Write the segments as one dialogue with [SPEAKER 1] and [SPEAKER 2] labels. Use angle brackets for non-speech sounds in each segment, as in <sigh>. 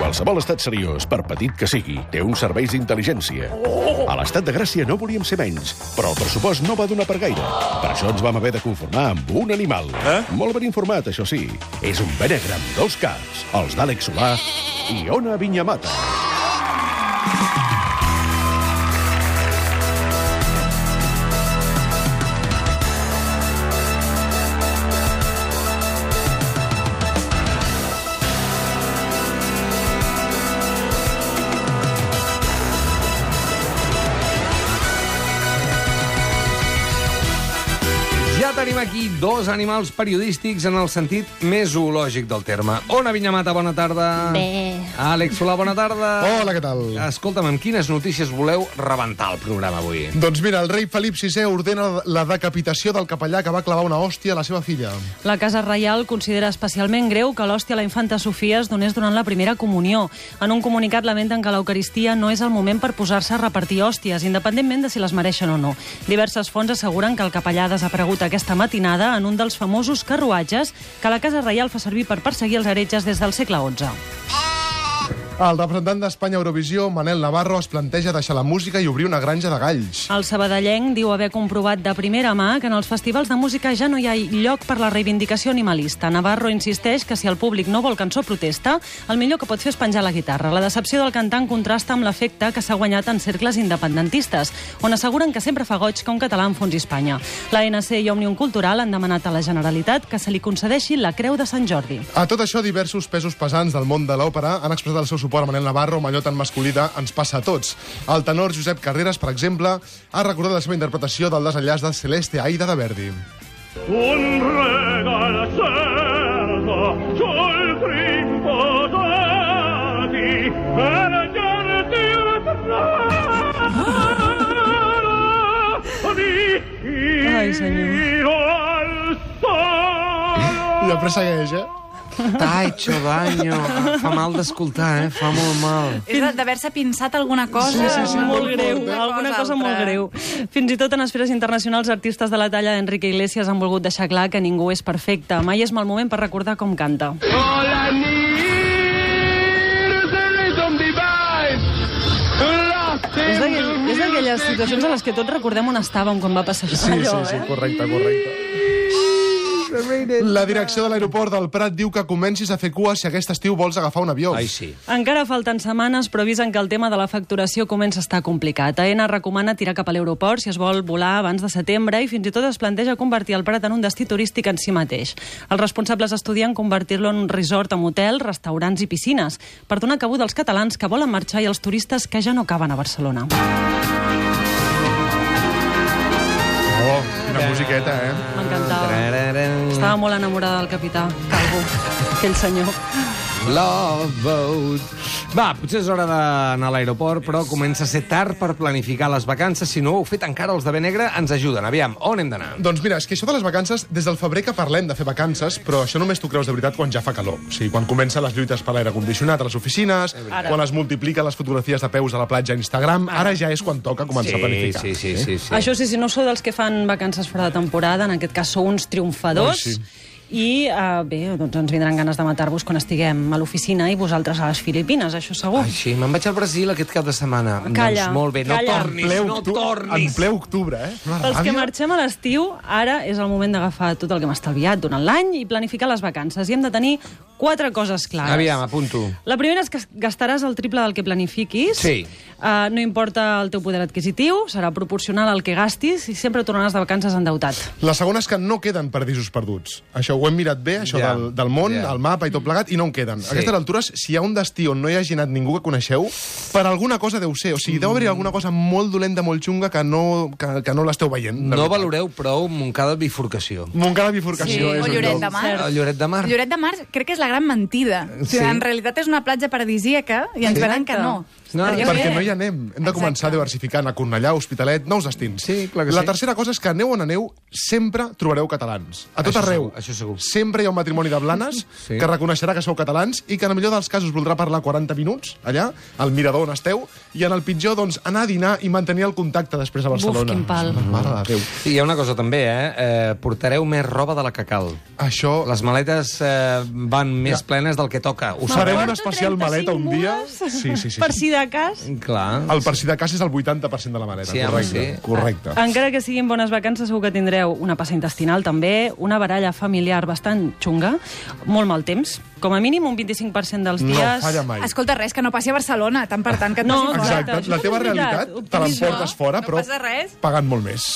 [SPEAKER 1] Qualsevol estat seriós, per petit que sigui, té uns serveis d'intel·ligència. A l'estat de Gràcia no volíem ser menys, però el pressupost no va donar per gaire. Per això ens vam haver de conformar amb un animal.
[SPEAKER 2] Eh?
[SPEAKER 1] Molt ben informat, això sí. És un benegre amb dos caps, els d'Àlex Solà i Ona Vinyamata.
[SPEAKER 3] Ja tenim aquí dos animals periodístics en el sentit més zoològic del terme. Ona Vinyamata, bona tarda.
[SPEAKER 4] Bé.
[SPEAKER 3] Àlex Solà, bona tarda.
[SPEAKER 5] Hola, què tal?
[SPEAKER 3] Escolta'm, amb quines notícies voleu rebentar el programa avui?
[SPEAKER 5] Doncs mira, el rei Felip VI ordena la decapitació del capellà que va clavar una hòstia a la seva filla.
[SPEAKER 6] La Casa Reial considera especialment greu que l'hòstia a la infanta Sofia es donés durant la primera comunió. En un comunicat lamenten que l'Eucaristia no és el moment per posar-se a repartir hòsties, independentment de si les mereixen o no. Diverses fonts asseguren que el capellà ha desaparegut aquesta matinada en un dels famosos carruatges que la Casa Reial fa servir per perseguir els heretges des del segle XI.
[SPEAKER 5] El representant d'Espanya a Eurovisió, Manel Navarro, es planteja deixar la música i obrir una granja de galls.
[SPEAKER 6] El sabadellenc diu haver comprovat de primera mà que en els festivals de música ja no hi ha lloc per la reivindicació animalista. Navarro insisteix que si el públic no vol cançó protesta, el millor que pot fer és penjar la guitarra. La decepció del cantant contrasta amb l'efecte que s'ha guanyat en cercles independentistes, on asseguren que sempre fa goig que un català enfonsi Espanya. L'ANC i Òmnium Cultural han demanat a la Generalitat que se li concedeixi la Creu de Sant Jordi.
[SPEAKER 5] A tot això, diversos pesos pesants del món de l'òpera han expressat el seu suport a Manel Navarro amb allò tan masculí de Ens passa a tots. El tenor Josep Carreras, per exemple, ha recordat la seva interpretació del desenllaç de Celeste Aida de Verdi.
[SPEAKER 7] Un regal servo sul primo dati per darti atrarmi
[SPEAKER 6] Ai, senyor.
[SPEAKER 7] al
[SPEAKER 5] I
[SPEAKER 7] sole.
[SPEAKER 5] després segueix, eh?
[SPEAKER 3] T'ha hecho daño. Fa mal d'escoltar, eh? Fa molt mal.
[SPEAKER 8] És de- d'haver-se pinçat alguna cosa.
[SPEAKER 5] Sí, sí, sí,
[SPEAKER 6] molt
[SPEAKER 5] molt
[SPEAKER 6] greu,
[SPEAKER 5] fort, eh?
[SPEAKER 6] alguna cosa molt
[SPEAKER 8] altra.
[SPEAKER 6] greu. Fins i tot en esferes internacionals, artistes de la talla d'Enrique Iglesias han volgut deixar clar que ningú és perfecte. Mai és mal moment per recordar com canta.
[SPEAKER 7] Hola nil se le son divine. Lost
[SPEAKER 6] És
[SPEAKER 7] in
[SPEAKER 6] d'aquell- és d'aquelles situacions en les que tots recordem on estàvem quan va passar això.
[SPEAKER 5] Sí,
[SPEAKER 6] allò,
[SPEAKER 5] sí, sí,
[SPEAKER 6] eh?
[SPEAKER 5] correcte, correcte. La direcció de l'aeroport del Prat diu que comencis a fer cua si aquest estiu vols agafar un avió.
[SPEAKER 3] Ai, sí.
[SPEAKER 6] Encara falten setmanes, però avisen que el tema de la facturació comença a estar complicat. AENA recomana tirar cap a l'aeroport si es vol volar abans de setembre i fins i tot es planteja convertir el Prat en un destí turístic en si mateix. Els responsables estudien convertir-lo en un resort amb hotel, restaurants i piscines per donar cabuda als catalans que volen marxar i als turistes que ja no caben a Barcelona.
[SPEAKER 5] Oh, quina musiqueta, eh?
[SPEAKER 6] M'encantava. Estava molt enamorada del capità Calvo, aquell senyor.
[SPEAKER 3] Love boat. Va, potser és hora d'anar a l'aeroport, però comença a ser tard per planificar les vacances. Si no ho heu fet encara, els de Benegre ens ajuden. Aviam, on hem d'anar?
[SPEAKER 5] Doncs mira, és que això de les vacances, des del febrer que parlem de fer vacances, però això només tu creus de veritat quan ja fa calor. O sigui, quan comencen les lluites per l'aire condicionat a les oficines, quan es multipliquen les fotografies de peus a la platja a Instagram, ara ja és quan toca començar a planificar.
[SPEAKER 3] sí, sí, sí, sí.
[SPEAKER 6] Sí. Això sí, si no sou dels que fan vacances fora de temporada, en aquest cas sou uns triomfadors.
[SPEAKER 5] Ai, sí.
[SPEAKER 6] I uh, bé, doncs ens vindran ganes de matar-vos quan estiguem a l'oficina i vosaltres a les Filipines, això segur.
[SPEAKER 3] Ai, sí, me'n vaig al Brasil aquest cap de setmana.
[SPEAKER 6] Calla,
[SPEAKER 3] doncs molt bé, no
[SPEAKER 6] calla.
[SPEAKER 3] tornis,
[SPEAKER 5] Ple
[SPEAKER 3] no
[SPEAKER 5] octu- En
[SPEAKER 3] tornis.
[SPEAKER 5] ple octubre, eh? Una
[SPEAKER 6] Pels que
[SPEAKER 5] ràbia.
[SPEAKER 6] marxem a l'estiu, ara és el moment d'agafar tot el que hem estalviat durant l'any i planificar les vacances. I hem de tenir quatre coses clares.
[SPEAKER 3] Aviam, apunto.
[SPEAKER 6] La primera és que gastaràs el triple del que planifiquis.
[SPEAKER 3] Sí.
[SPEAKER 6] Uh, no importa el teu poder adquisitiu, serà proporcional al que gastis i sempre tornaràs de vacances endeutat.
[SPEAKER 5] La segona és que no queden paradisos perduts. Això ho hem mirat bé,
[SPEAKER 3] Ja,
[SPEAKER 5] això yeah. del, del món,
[SPEAKER 3] ja.
[SPEAKER 5] yeah. el mapa i tot plegat, i no en queden. Sí. A aquestes altures, si hi ha un destí on no hi hagi anat ningú que coneixeu, per alguna cosa deu ser. O sigui, deu haver-hi alguna cosa molt dolenta, molt xunga, que no, que, que no l'esteu veient. de
[SPEAKER 3] No
[SPEAKER 5] veritat.
[SPEAKER 3] valoreu prou Montcada Bifurcació.
[SPEAKER 5] Montcada Bifurcació
[SPEAKER 8] Sí,
[SPEAKER 5] és
[SPEAKER 8] o
[SPEAKER 5] un
[SPEAKER 8] Lloret
[SPEAKER 5] lloc.
[SPEAKER 8] de Mar.
[SPEAKER 3] El Lloret de Mar.
[SPEAKER 8] Lloret de Mar crec que és la gran mentida. O sigui,
[SPEAKER 3] Sí.
[SPEAKER 8] En realitat és una platja paradisíaca i ens venen que no.
[SPEAKER 3] No,
[SPEAKER 8] Perquè
[SPEAKER 5] Ah, Perquè
[SPEAKER 8] bé.
[SPEAKER 5] no hi anem. Hem de començar
[SPEAKER 8] Exacte.
[SPEAKER 5] diversificant a Cornellà, Hospitalet, nous destins.
[SPEAKER 3] Sí, clar que
[SPEAKER 5] La
[SPEAKER 3] sí.
[SPEAKER 5] tercera cosa és que aneu on aneu, sempre trobareu catalans. A tot
[SPEAKER 3] Això
[SPEAKER 5] arreu.
[SPEAKER 3] segur, això segur.
[SPEAKER 5] Sempre hi ha un matrimoni de
[SPEAKER 3] <laughs>
[SPEAKER 5] blanes
[SPEAKER 3] Sí.
[SPEAKER 5] sí. que reconeixerà que sou catalans i que en el millor dels casos voldrà parlar 40 minuts allà, al mirador on esteu, i en el pitjor, doncs, anar a dinar i mantenir el contacte després a Barcelona.
[SPEAKER 6] quin pal.
[SPEAKER 5] Mare de Déu.
[SPEAKER 3] I hi ha una cosa també, eh? eh? Portareu més roba de la que cal.
[SPEAKER 5] Això...
[SPEAKER 3] Les maletes eh, van més plenes del que toca. Ho
[SPEAKER 5] Farem
[SPEAKER 3] sabeu?
[SPEAKER 5] un
[SPEAKER 6] porto
[SPEAKER 5] especial maleta un
[SPEAKER 6] 35
[SPEAKER 5] dia.
[SPEAKER 6] mules
[SPEAKER 5] Sí, sí, sí.
[SPEAKER 6] Per
[SPEAKER 5] sí.
[SPEAKER 6] si de cas,
[SPEAKER 3] Clar.
[SPEAKER 5] El per si de cas és el 80% de la maleta.
[SPEAKER 3] Sí, home,
[SPEAKER 5] correcte,
[SPEAKER 3] sí.
[SPEAKER 5] correcte.
[SPEAKER 8] Ah,
[SPEAKER 6] encara que siguin bones vacances, segur que tindreu una passa intestinal també, una baralla familiar bastant xunga, molt mal temps, com a mínim un 25% dels
[SPEAKER 5] No
[SPEAKER 6] dies...
[SPEAKER 5] falla mai.
[SPEAKER 8] Escolta, res, que no passi a Barcelona, tant per tant que et
[SPEAKER 6] No,
[SPEAKER 8] passi fora.
[SPEAKER 5] Exacte,
[SPEAKER 6] Correcte, això
[SPEAKER 5] la teva
[SPEAKER 6] és veritat.
[SPEAKER 5] realitat te l'emportes
[SPEAKER 8] No,
[SPEAKER 5] fora,
[SPEAKER 8] no
[SPEAKER 5] però
[SPEAKER 8] passa res.
[SPEAKER 5] pagant molt més.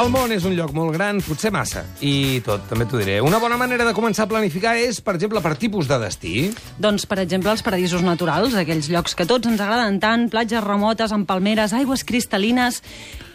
[SPEAKER 3] El món és un lloc molt gran, potser massa, i tot, també t'ho diré. Una bona manera de començar a planificar és, per exemple, per tipus de destí.
[SPEAKER 6] Doncs, per exemple, els paradisos naturals, aquells llocs que tots ens agraden tant, platges remotes, amb palmeres, aigües cristal·lines...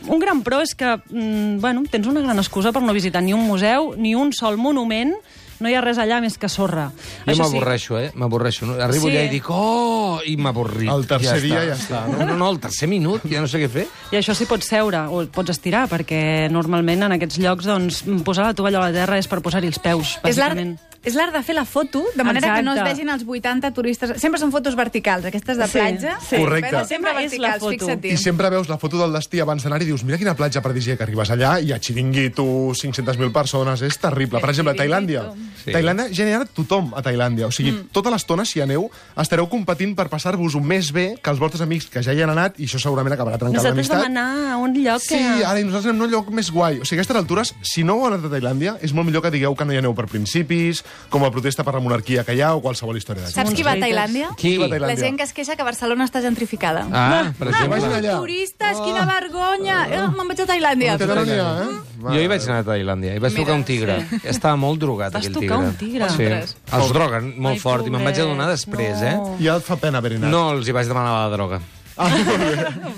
[SPEAKER 6] Un gran pro és que, mm, bueno, tens una gran excusa per no visitar ni un museu, ni un sol monument, no hi ha res allà més que sorra.
[SPEAKER 3] Jo
[SPEAKER 6] Això sí,
[SPEAKER 3] m'avorreixo, eh? M'avorreixo. No? Arribo
[SPEAKER 6] Sí.
[SPEAKER 3] allà i dic, oh, i m'avorrit.
[SPEAKER 5] El tercer dia ja està,
[SPEAKER 3] No? no, no, el tercer minut, ja no sé què fer.
[SPEAKER 6] I això s'hi pots seure o et pots estirar, perquè normalment en aquests llocs doncs, posar la tovallola a terra és per posar-hi els peus,
[SPEAKER 8] És l'art
[SPEAKER 6] bàsicament.
[SPEAKER 8] és l'art de fer la foto, de manera
[SPEAKER 6] Exacte.
[SPEAKER 8] que no es vegin els 80 turistes... Sempre són fotos verticals, aquestes de
[SPEAKER 6] Sí,
[SPEAKER 8] platja.
[SPEAKER 6] sí.
[SPEAKER 5] Correcte.
[SPEAKER 8] Però sempre
[SPEAKER 6] Sempre és la
[SPEAKER 8] verticals,
[SPEAKER 6] foto.
[SPEAKER 8] fixa't.
[SPEAKER 5] I sempre veus la foto del destí abans d'anar i dius, mira quina platja paradisíaca arribes allà i a Xiringuito, 500.000 persones, és terrible. Per exemple, a Tailàndia.
[SPEAKER 3] Sí.
[SPEAKER 5] Sí. Tailàndia ja n'hi ha tothom a Tailàndia. O sigui, mm. tota l'estona, si aneu, estareu competint per passar-vos-ho més bé que els vostres amics que ja hi han anat i això segurament acabarà trencant
[SPEAKER 6] Nosaltres
[SPEAKER 5] l'amistat.
[SPEAKER 6] vam anar a un lloc
[SPEAKER 5] Sí,
[SPEAKER 6] que...
[SPEAKER 5] ara i nosaltres anem a un lloc més guai. O sigui, a aquestes altures, si no heu anat a Tailàndia, és molt millor que digueu que no hi aneu per principis, com a protesta per la monarquia que hi ha o qualsevol història d'aquesta.
[SPEAKER 8] Saps qui va a
[SPEAKER 6] Uns
[SPEAKER 8] Tailàndia?
[SPEAKER 3] Qui?
[SPEAKER 5] va a Tailàndia?
[SPEAKER 8] La gent que es queixa que Barcelona està gentrificada.
[SPEAKER 3] Ah, per
[SPEAKER 5] vagin
[SPEAKER 3] exemple.
[SPEAKER 5] allà.
[SPEAKER 8] Turistes,
[SPEAKER 5] Ah.
[SPEAKER 8] quina vergonya! Eh, Me'n vaig a Tailàndia.
[SPEAKER 5] Té Tailàndia, eh?
[SPEAKER 3] Jo hi vaig anar a Tailàndia i vaig
[SPEAKER 8] Mira,
[SPEAKER 3] tocar un tigre. Sí. Estava molt drogat,
[SPEAKER 6] Vas
[SPEAKER 3] aquell tigre.
[SPEAKER 6] tocar un tigre?
[SPEAKER 3] Sí.
[SPEAKER 6] Ostres.
[SPEAKER 3] Els droguen molt
[SPEAKER 6] Ai,
[SPEAKER 3] fort i me'n vaig
[SPEAKER 6] pobret,
[SPEAKER 3] adonar després,
[SPEAKER 6] no.
[SPEAKER 5] Ja et fa pena haver
[SPEAKER 3] eh?
[SPEAKER 5] anat.
[SPEAKER 3] No els hi vaig demanar la droga.
[SPEAKER 5] Ah, molt bé.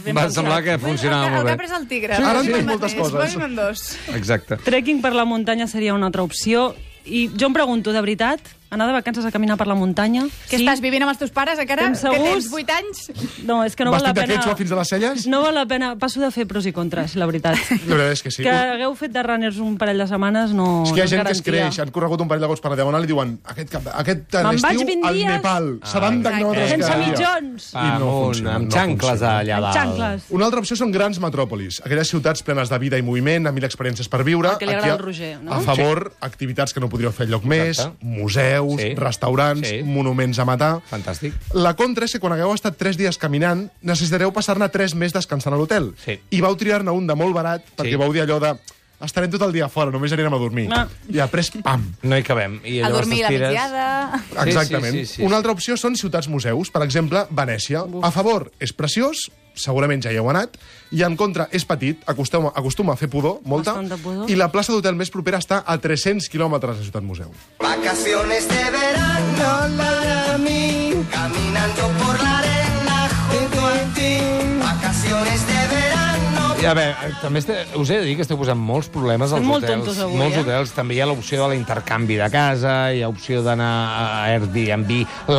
[SPEAKER 3] Em va
[SPEAKER 6] doncs,
[SPEAKER 3] semblar que funcionava
[SPEAKER 8] el, que- el que ha
[SPEAKER 3] molt
[SPEAKER 8] pres
[SPEAKER 3] bé.
[SPEAKER 8] el tigre.
[SPEAKER 5] Sí, ara
[SPEAKER 8] Posin
[SPEAKER 5] entenc
[SPEAKER 8] el
[SPEAKER 5] moltes
[SPEAKER 8] mateix,
[SPEAKER 5] coses.
[SPEAKER 8] posin en dos.
[SPEAKER 3] Exacte.
[SPEAKER 6] Trekking per la muntanya seria una altra opció. I jo em pregunto, de veritat, anar de vacances a caminar per la muntanya?
[SPEAKER 8] Que estàs vivint amb els teus pares encara?
[SPEAKER 6] Tens
[SPEAKER 8] Que tens
[SPEAKER 6] segurs?
[SPEAKER 8] 8 anys?
[SPEAKER 6] No, és que no val la
[SPEAKER 5] Vestit de
[SPEAKER 6] pena...
[SPEAKER 5] quechua fins a les celles?
[SPEAKER 6] No val la pena. Passo de fer pros i contras, la
[SPEAKER 5] <laughs>
[SPEAKER 6] veritat.
[SPEAKER 5] La veritat és que sí.
[SPEAKER 6] Que hagueu fet de runners un parell de setmanes no
[SPEAKER 5] És que hi ha
[SPEAKER 6] no
[SPEAKER 5] gent que es
[SPEAKER 6] garantia.
[SPEAKER 5] creix, han corregut un parell de gots per la diagonal i diuen aquest, cap, aquest
[SPEAKER 6] Me'n vaig
[SPEAKER 5] estiu
[SPEAKER 6] vint
[SPEAKER 5] al
[SPEAKER 6] dies.
[SPEAKER 5] Nepal, 70 quilòmetres
[SPEAKER 6] Sense
[SPEAKER 5] cada dia.
[SPEAKER 6] mitjons!
[SPEAKER 3] Pa,
[SPEAKER 5] I no
[SPEAKER 3] amunt,
[SPEAKER 5] funciona,
[SPEAKER 3] amb
[SPEAKER 5] no
[SPEAKER 3] xancles
[SPEAKER 5] funciona.
[SPEAKER 3] allà
[SPEAKER 6] Amb
[SPEAKER 3] dalt.
[SPEAKER 6] xancles.
[SPEAKER 5] Una altra opció són grans metròpolis, aquelles ciutats plenes de vida i moviment, amb mil experiències per viure.
[SPEAKER 6] El que li agrada al Roger, no?
[SPEAKER 5] A favor, activitats que no podríeu fer lloc més,
[SPEAKER 3] Exacte.
[SPEAKER 5] museus,
[SPEAKER 3] Sí.
[SPEAKER 5] restaurants,
[SPEAKER 3] Sí.
[SPEAKER 5] monuments a matar...
[SPEAKER 3] Fantàstic.
[SPEAKER 5] La contra és que quan hagueu estat 3 dies caminant, necessitareu passar-ne 3 més descansant a l'hotel.
[SPEAKER 3] Sí.
[SPEAKER 5] I vau triar-ne un de molt barat, perquè
[SPEAKER 3] Sí.
[SPEAKER 5] vau dir allò de estarem tot el dia fora, només anirem a dormir.
[SPEAKER 6] Ah.
[SPEAKER 5] I després, pam,
[SPEAKER 3] No hi cabem. I
[SPEAKER 8] A
[SPEAKER 3] llavors
[SPEAKER 8] dormir la
[SPEAKER 3] t'estires.
[SPEAKER 8] migdiada...
[SPEAKER 3] sí,
[SPEAKER 5] Exactament.
[SPEAKER 3] sí, sí, sí.
[SPEAKER 5] Una altra opció són ciutats-museus, per exemple, Venècia. A favor, és preciós, segurament ja hi heu anat, i en contra, és petit, acostuma, acostuma a fer pudor, molta,
[SPEAKER 6] Bastant de pudor.
[SPEAKER 5] i la plaça d'hotel més propera està a 300 quilòmetres de ciutat-museu.
[SPEAKER 2] Vacaciones de verano para mí, caminando por la arena junto a ti. Vacaciones de verano.
[SPEAKER 3] I, A veure, també este, us he de dir que esteu posant molts problemes als
[SPEAKER 6] Estem molt
[SPEAKER 3] hotels.
[SPEAKER 6] tontos avui,
[SPEAKER 3] molts
[SPEAKER 6] eh?
[SPEAKER 3] hotels. També hi ha l'opció de l'intercanvi de casa, hi ha opció d'anar a Airbnb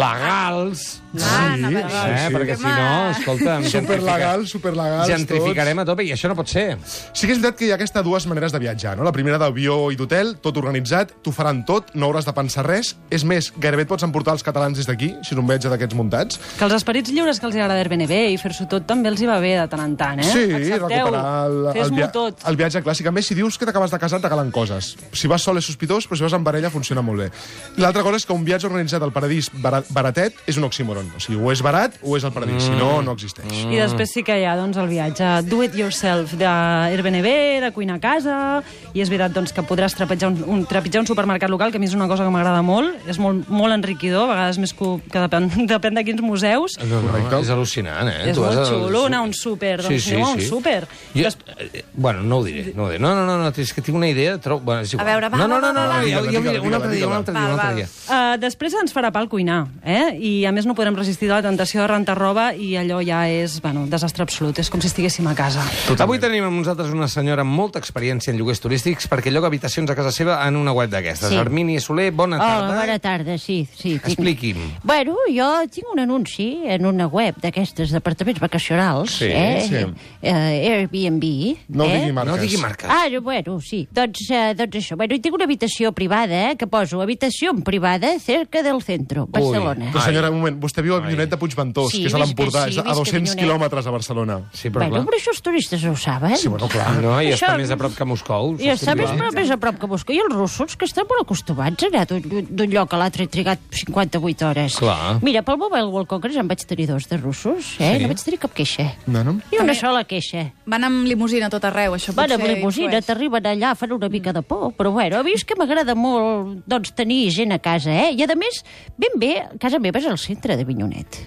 [SPEAKER 3] legals,
[SPEAKER 8] Ah, no, va dir.
[SPEAKER 5] Sí,
[SPEAKER 3] eh?
[SPEAKER 5] sí.
[SPEAKER 3] perquè si no, escolta...
[SPEAKER 5] Superlegal, superlegals,
[SPEAKER 3] Gentrificarem a tope i això no pot ser.
[SPEAKER 5] tots. Sí que és veritat que hi ha aquestes dues maneres de viatjar, no? La primera d'avió i d'hotel, tot organitzat, t'ho faran tot, no hauràs de pensar res. És més, gairebé et pots emportar els catalans des d'aquí, si no em veig d'aquests muntats.
[SPEAKER 6] Que els esperits lliures que els hi agrada Airbnb i fer-s'ho tot també els hi va bé de tant en tant, eh?
[SPEAKER 5] Sí,
[SPEAKER 6] Accepteu,
[SPEAKER 5] recuperar el, el,
[SPEAKER 6] Fes-m'ho
[SPEAKER 5] via Ah.
[SPEAKER 6] tot.
[SPEAKER 5] el viatge clàssic. A més, si dius que t'acabes de casar, t'agalen coses. Si vas sol és sospitós, però si vas en parella funciona molt bé. L'altra cosa és que un viatge organitzat al paradís bara- baratet és un oxímoron. O sigui, o és barat o és el paradís. Si no, no existeix.
[SPEAKER 6] I després sí que hi ha doncs, el viatge do it yourself d'Airbnb, de cuina a casa, i és veritat doncs, que podràs trepitjar un, un, trepitjar un supermercat local, que a mi és una cosa que m'agrada molt, és molt, molt enriquidor, a vegades més que, que depèn, <laughs> depèn de quins museus.
[SPEAKER 3] No, no,
[SPEAKER 5] Correcte.
[SPEAKER 3] és al·lucinant, eh?
[SPEAKER 6] És
[SPEAKER 3] Tu vas
[SPEAKER 6] molt
[SPEAKER 3] al-
[SPEAKER 6] xulo anar a un súper, doncs aneu a un súper.
[SPEAKER 3] Jo,
[SPEAKER 6] Des-
[SPEAKER 3] eh, bueno, no ho diré, no ho diré. No, no, no, no és que tinc una idea... Trobo, bueno, és igual.
[SPEAKER 8] A veure, va,
[SPEAKER 3] no, no,
[SPEAKER 8] va,
[SPEAKER 3] no,
[SPEAKER 8] va,
[SPEAKER 3] no, no,
[SPEAKER 8] va,
[SPEAKER 3] ja ho
[SPEAKER 5] va,
[SPEAKER 3] ja ho diré,
[SPEAKER 5] digue-la,
[SPEAKER 3] un altre dia,
[SPEAKER 5] digue-la,
[SPEAKER 3] un altre dia, un
[SPEAKER 8] digue-la.
[SPEAKER 3] altre
[SPEAKER 8] Va,
[SPEAKER 3] dia.
[SPEAKER 6] Uh, després ens farà pal cuinar, eh? I a més no podrem resistir la tentació de rentar roba i allò ja és, bueno, desastre absolut, és com si estiguéssim a casa.
[SPEAKER 3] Avui tenim amb nosaltres una senyora amb molta experiència en lloguers turístics perquè lloga habitacions a casa seva en una web d'aquestes.
[SPEAKER 4] Sí.
[SPEAKER 3] Armini Soler, bona
[SPEAKER 6] Oh,
[SPEAKER 4] Hola,
[SPEAKER 6] Ah,
[SPEAKER 3] tarda.
[SPEAKER 4] bona tarda, sí. sí tinc-
[SPEAKER 3] Expliqui'm.
[SPEAKER 4] Bueno, jo tinc un anunci en una web d'aquestes d'apartaments vacacionals,
[SPEAKER 3] Sí,
[SPEAKER 4] eh?
[SPEAKER 5] sí.
[SPEAKER 4] eh
[SPEAKER 6] Airbnb.
[SPEAKER 5] No
[SPEAKER 6] eh?
[SPEAKER 5] digui marques.
[SPEAKER 3] No digui marques.
[SPEAKER 6] Ah, jo- bueno, sí. Doncs, eh, doncs això. Bueno, i tinc una habitació privada, eh, que poso habitació en privada cerca del centro, Barcelona.
[SPEAKER 5] Però senyora, un moment, vostè viu a Avinyonet de Puigventós,
[SPEAKER 6] Sí,
[SPEAKER 5] que és a
[SPEAKER 6] visc-
[SPEAKER 5] l'Empordà,
[SPEAKER 6] sí,
[SPEAKER 5] és a
[SPEAKER 6] visc a
[SPEAKER 5] 200
[SPEAKER 6] Avinyonet.
[SPEAKER 5] quilòmetres de Barcelona.
[SPEAKER 3] Sí, però
[SPEAKER 6] Bueno,
[SPEAKER 3] clar.
[SPEAKER 6] però això els turistes ho saben.
[SPEAKER 5] Sí, bueno, clar.
[SPEAKER 3] No, i està
[SPEAKER 6] Això-
[SPEAKER 3] més a prop que Moscou.
[SPEAKER 6] I
[SPEAKER 3] saps
[SPEAKER 6] està
[SPEAKER 3] què
[SPEAKER 6] més,
[SPEAKER 3] vull dir?
[SPEAKER 6] però més a prop que Moscou. I els russos, que estan molt acostumats a anar d'un- d'un lloc a l'altre, he trigat 58 hores.
[SPEAKER 3] Clar.
[SPEAKER 6] Mira, pel Mobile World Congress en vaig tenir dos de russos,
[SPEAKER 3] Sí.
[SPEAKER 6] eh? Sí. No vaig tenir cap queixa.
[SPEAKER 5] No, no?
[SPEAKER 6] Ni una sola queixa.
[SPEAKER 8] Van amb limusina a tot arreu, això
[SPEAKER 6] Van amb
[SPEAKER 8] potser
[SPEAKER 6] limusina,
[SPEAKER 8] influeix.
[SPEAKER 6] t'arriben allà, fan una mica de por, però bueno, a mi és que m'agrada molt doncs, tenir gent a casa, eh? I a més, ben bé, casa meva és el centre de Vinyonet.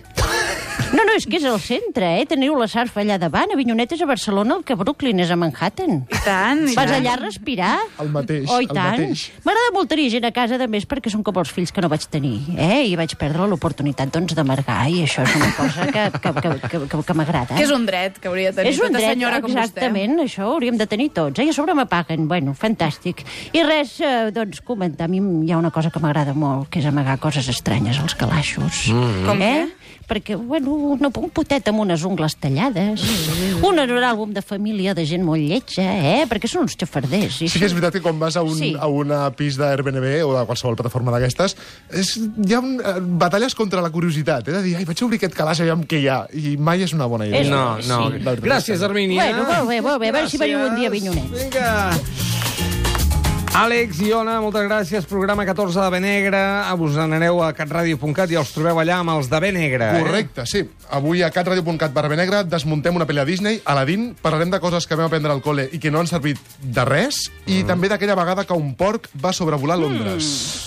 [SPEAKER 6] No, no, és que és el centre, eh? Teniu la sarfa allà davant, a Vinyonet és a Barcelona, el que Brooklyn és a Manhattan.
[SPEAKER 8] I tant, i
[SPEAKER 6] Vas
[SPEAKER 8] tant.
[SPEAKER 6] allà a respirar?
[SPEAKER 5] Doncs El mateix,
[SPEAKER 6] Oh, i
[SPEAKER 5] el
[SPEAKER 6] tant.
[SPEAKER 5] mateix.
[SPEAKER 6] M'agrada molt tenir gent a casa, de més, perquè són com els fills que no vaig tenir, eh? I vaig perdre l'oportunitat, doncs, d'amargar, i això és una cosa que, que, que, que, que, que m'agrada.
[SPEAKER 8] Que és un dret que hauria de tenir
[SPEAKER 6] És un
[SPEAKER 8] tota
[SPEAKER 6] dret,
[SPEAKER 8] senyora com
[SPEAKER 6] exactament, això ho hauríem de tenir tots. Eh? I a sobre me paguen, bueno, fantàstic. I res, eh, doncs, comentar, a mi hi ha una cosa que m'agrada molt, que és amagar coses estranyes als calaixos. Mm.
[SPEAKER 8] Com
[SPEAKER 6] eh? Perquè, bueno, una, un potet amb unes ungles tallades,
[SPEAKER 8] Mm.
[SPEAKER 6] un àlbum de família de gent molt lletja, eh? perquè són uns xafarders. I
[SPEAKER 5] Sí que és veritat que quan vas a, un, sí.
[SPEAKER 6] Sí.
[SPEAKER 5] a una pis d'Airbnb o de qualsevol plataforma d'aquestes, és- hi ha un, eh, batalles contra la curiositat. És a dir, ai, vaig obrir aquest calaix, aviam què hi ha. I mai és una bona idea.
[SPEAKER 6] És-
[SPEAKER 3] No,
[SPEAKER 6] Sí.
[SPEAKER 3] no.
[SPEAKER 5] La veritat és
[SPEAKER 3] Gràcies,
[SPEAKER 5] que no.
[SPEAKER 3] Armínia.
[SPEAKER 6] Bueno, molt bé, molt bé. A veure si veniu un dia a Vinyonet.
[SPEAKER 3] Vinga. Àlex i Ona, moltes gràcies. Programa 14 de Benegra. Vos anareu a catradio.cat i els trobeu allà amb els de eh? Benegra.
[SPEAKER 5] Correcte, sí. Avui a catradio.cat barra negra desmuntem una pel·li a Disney, Aladdin, parlarem de coses que vam aprendre al
[SPEAKER 3] Mm.
[SPEAKER 5] col·le i que no han servit de res, i també d'aquella vegada que un porc va sobrevolar Londres.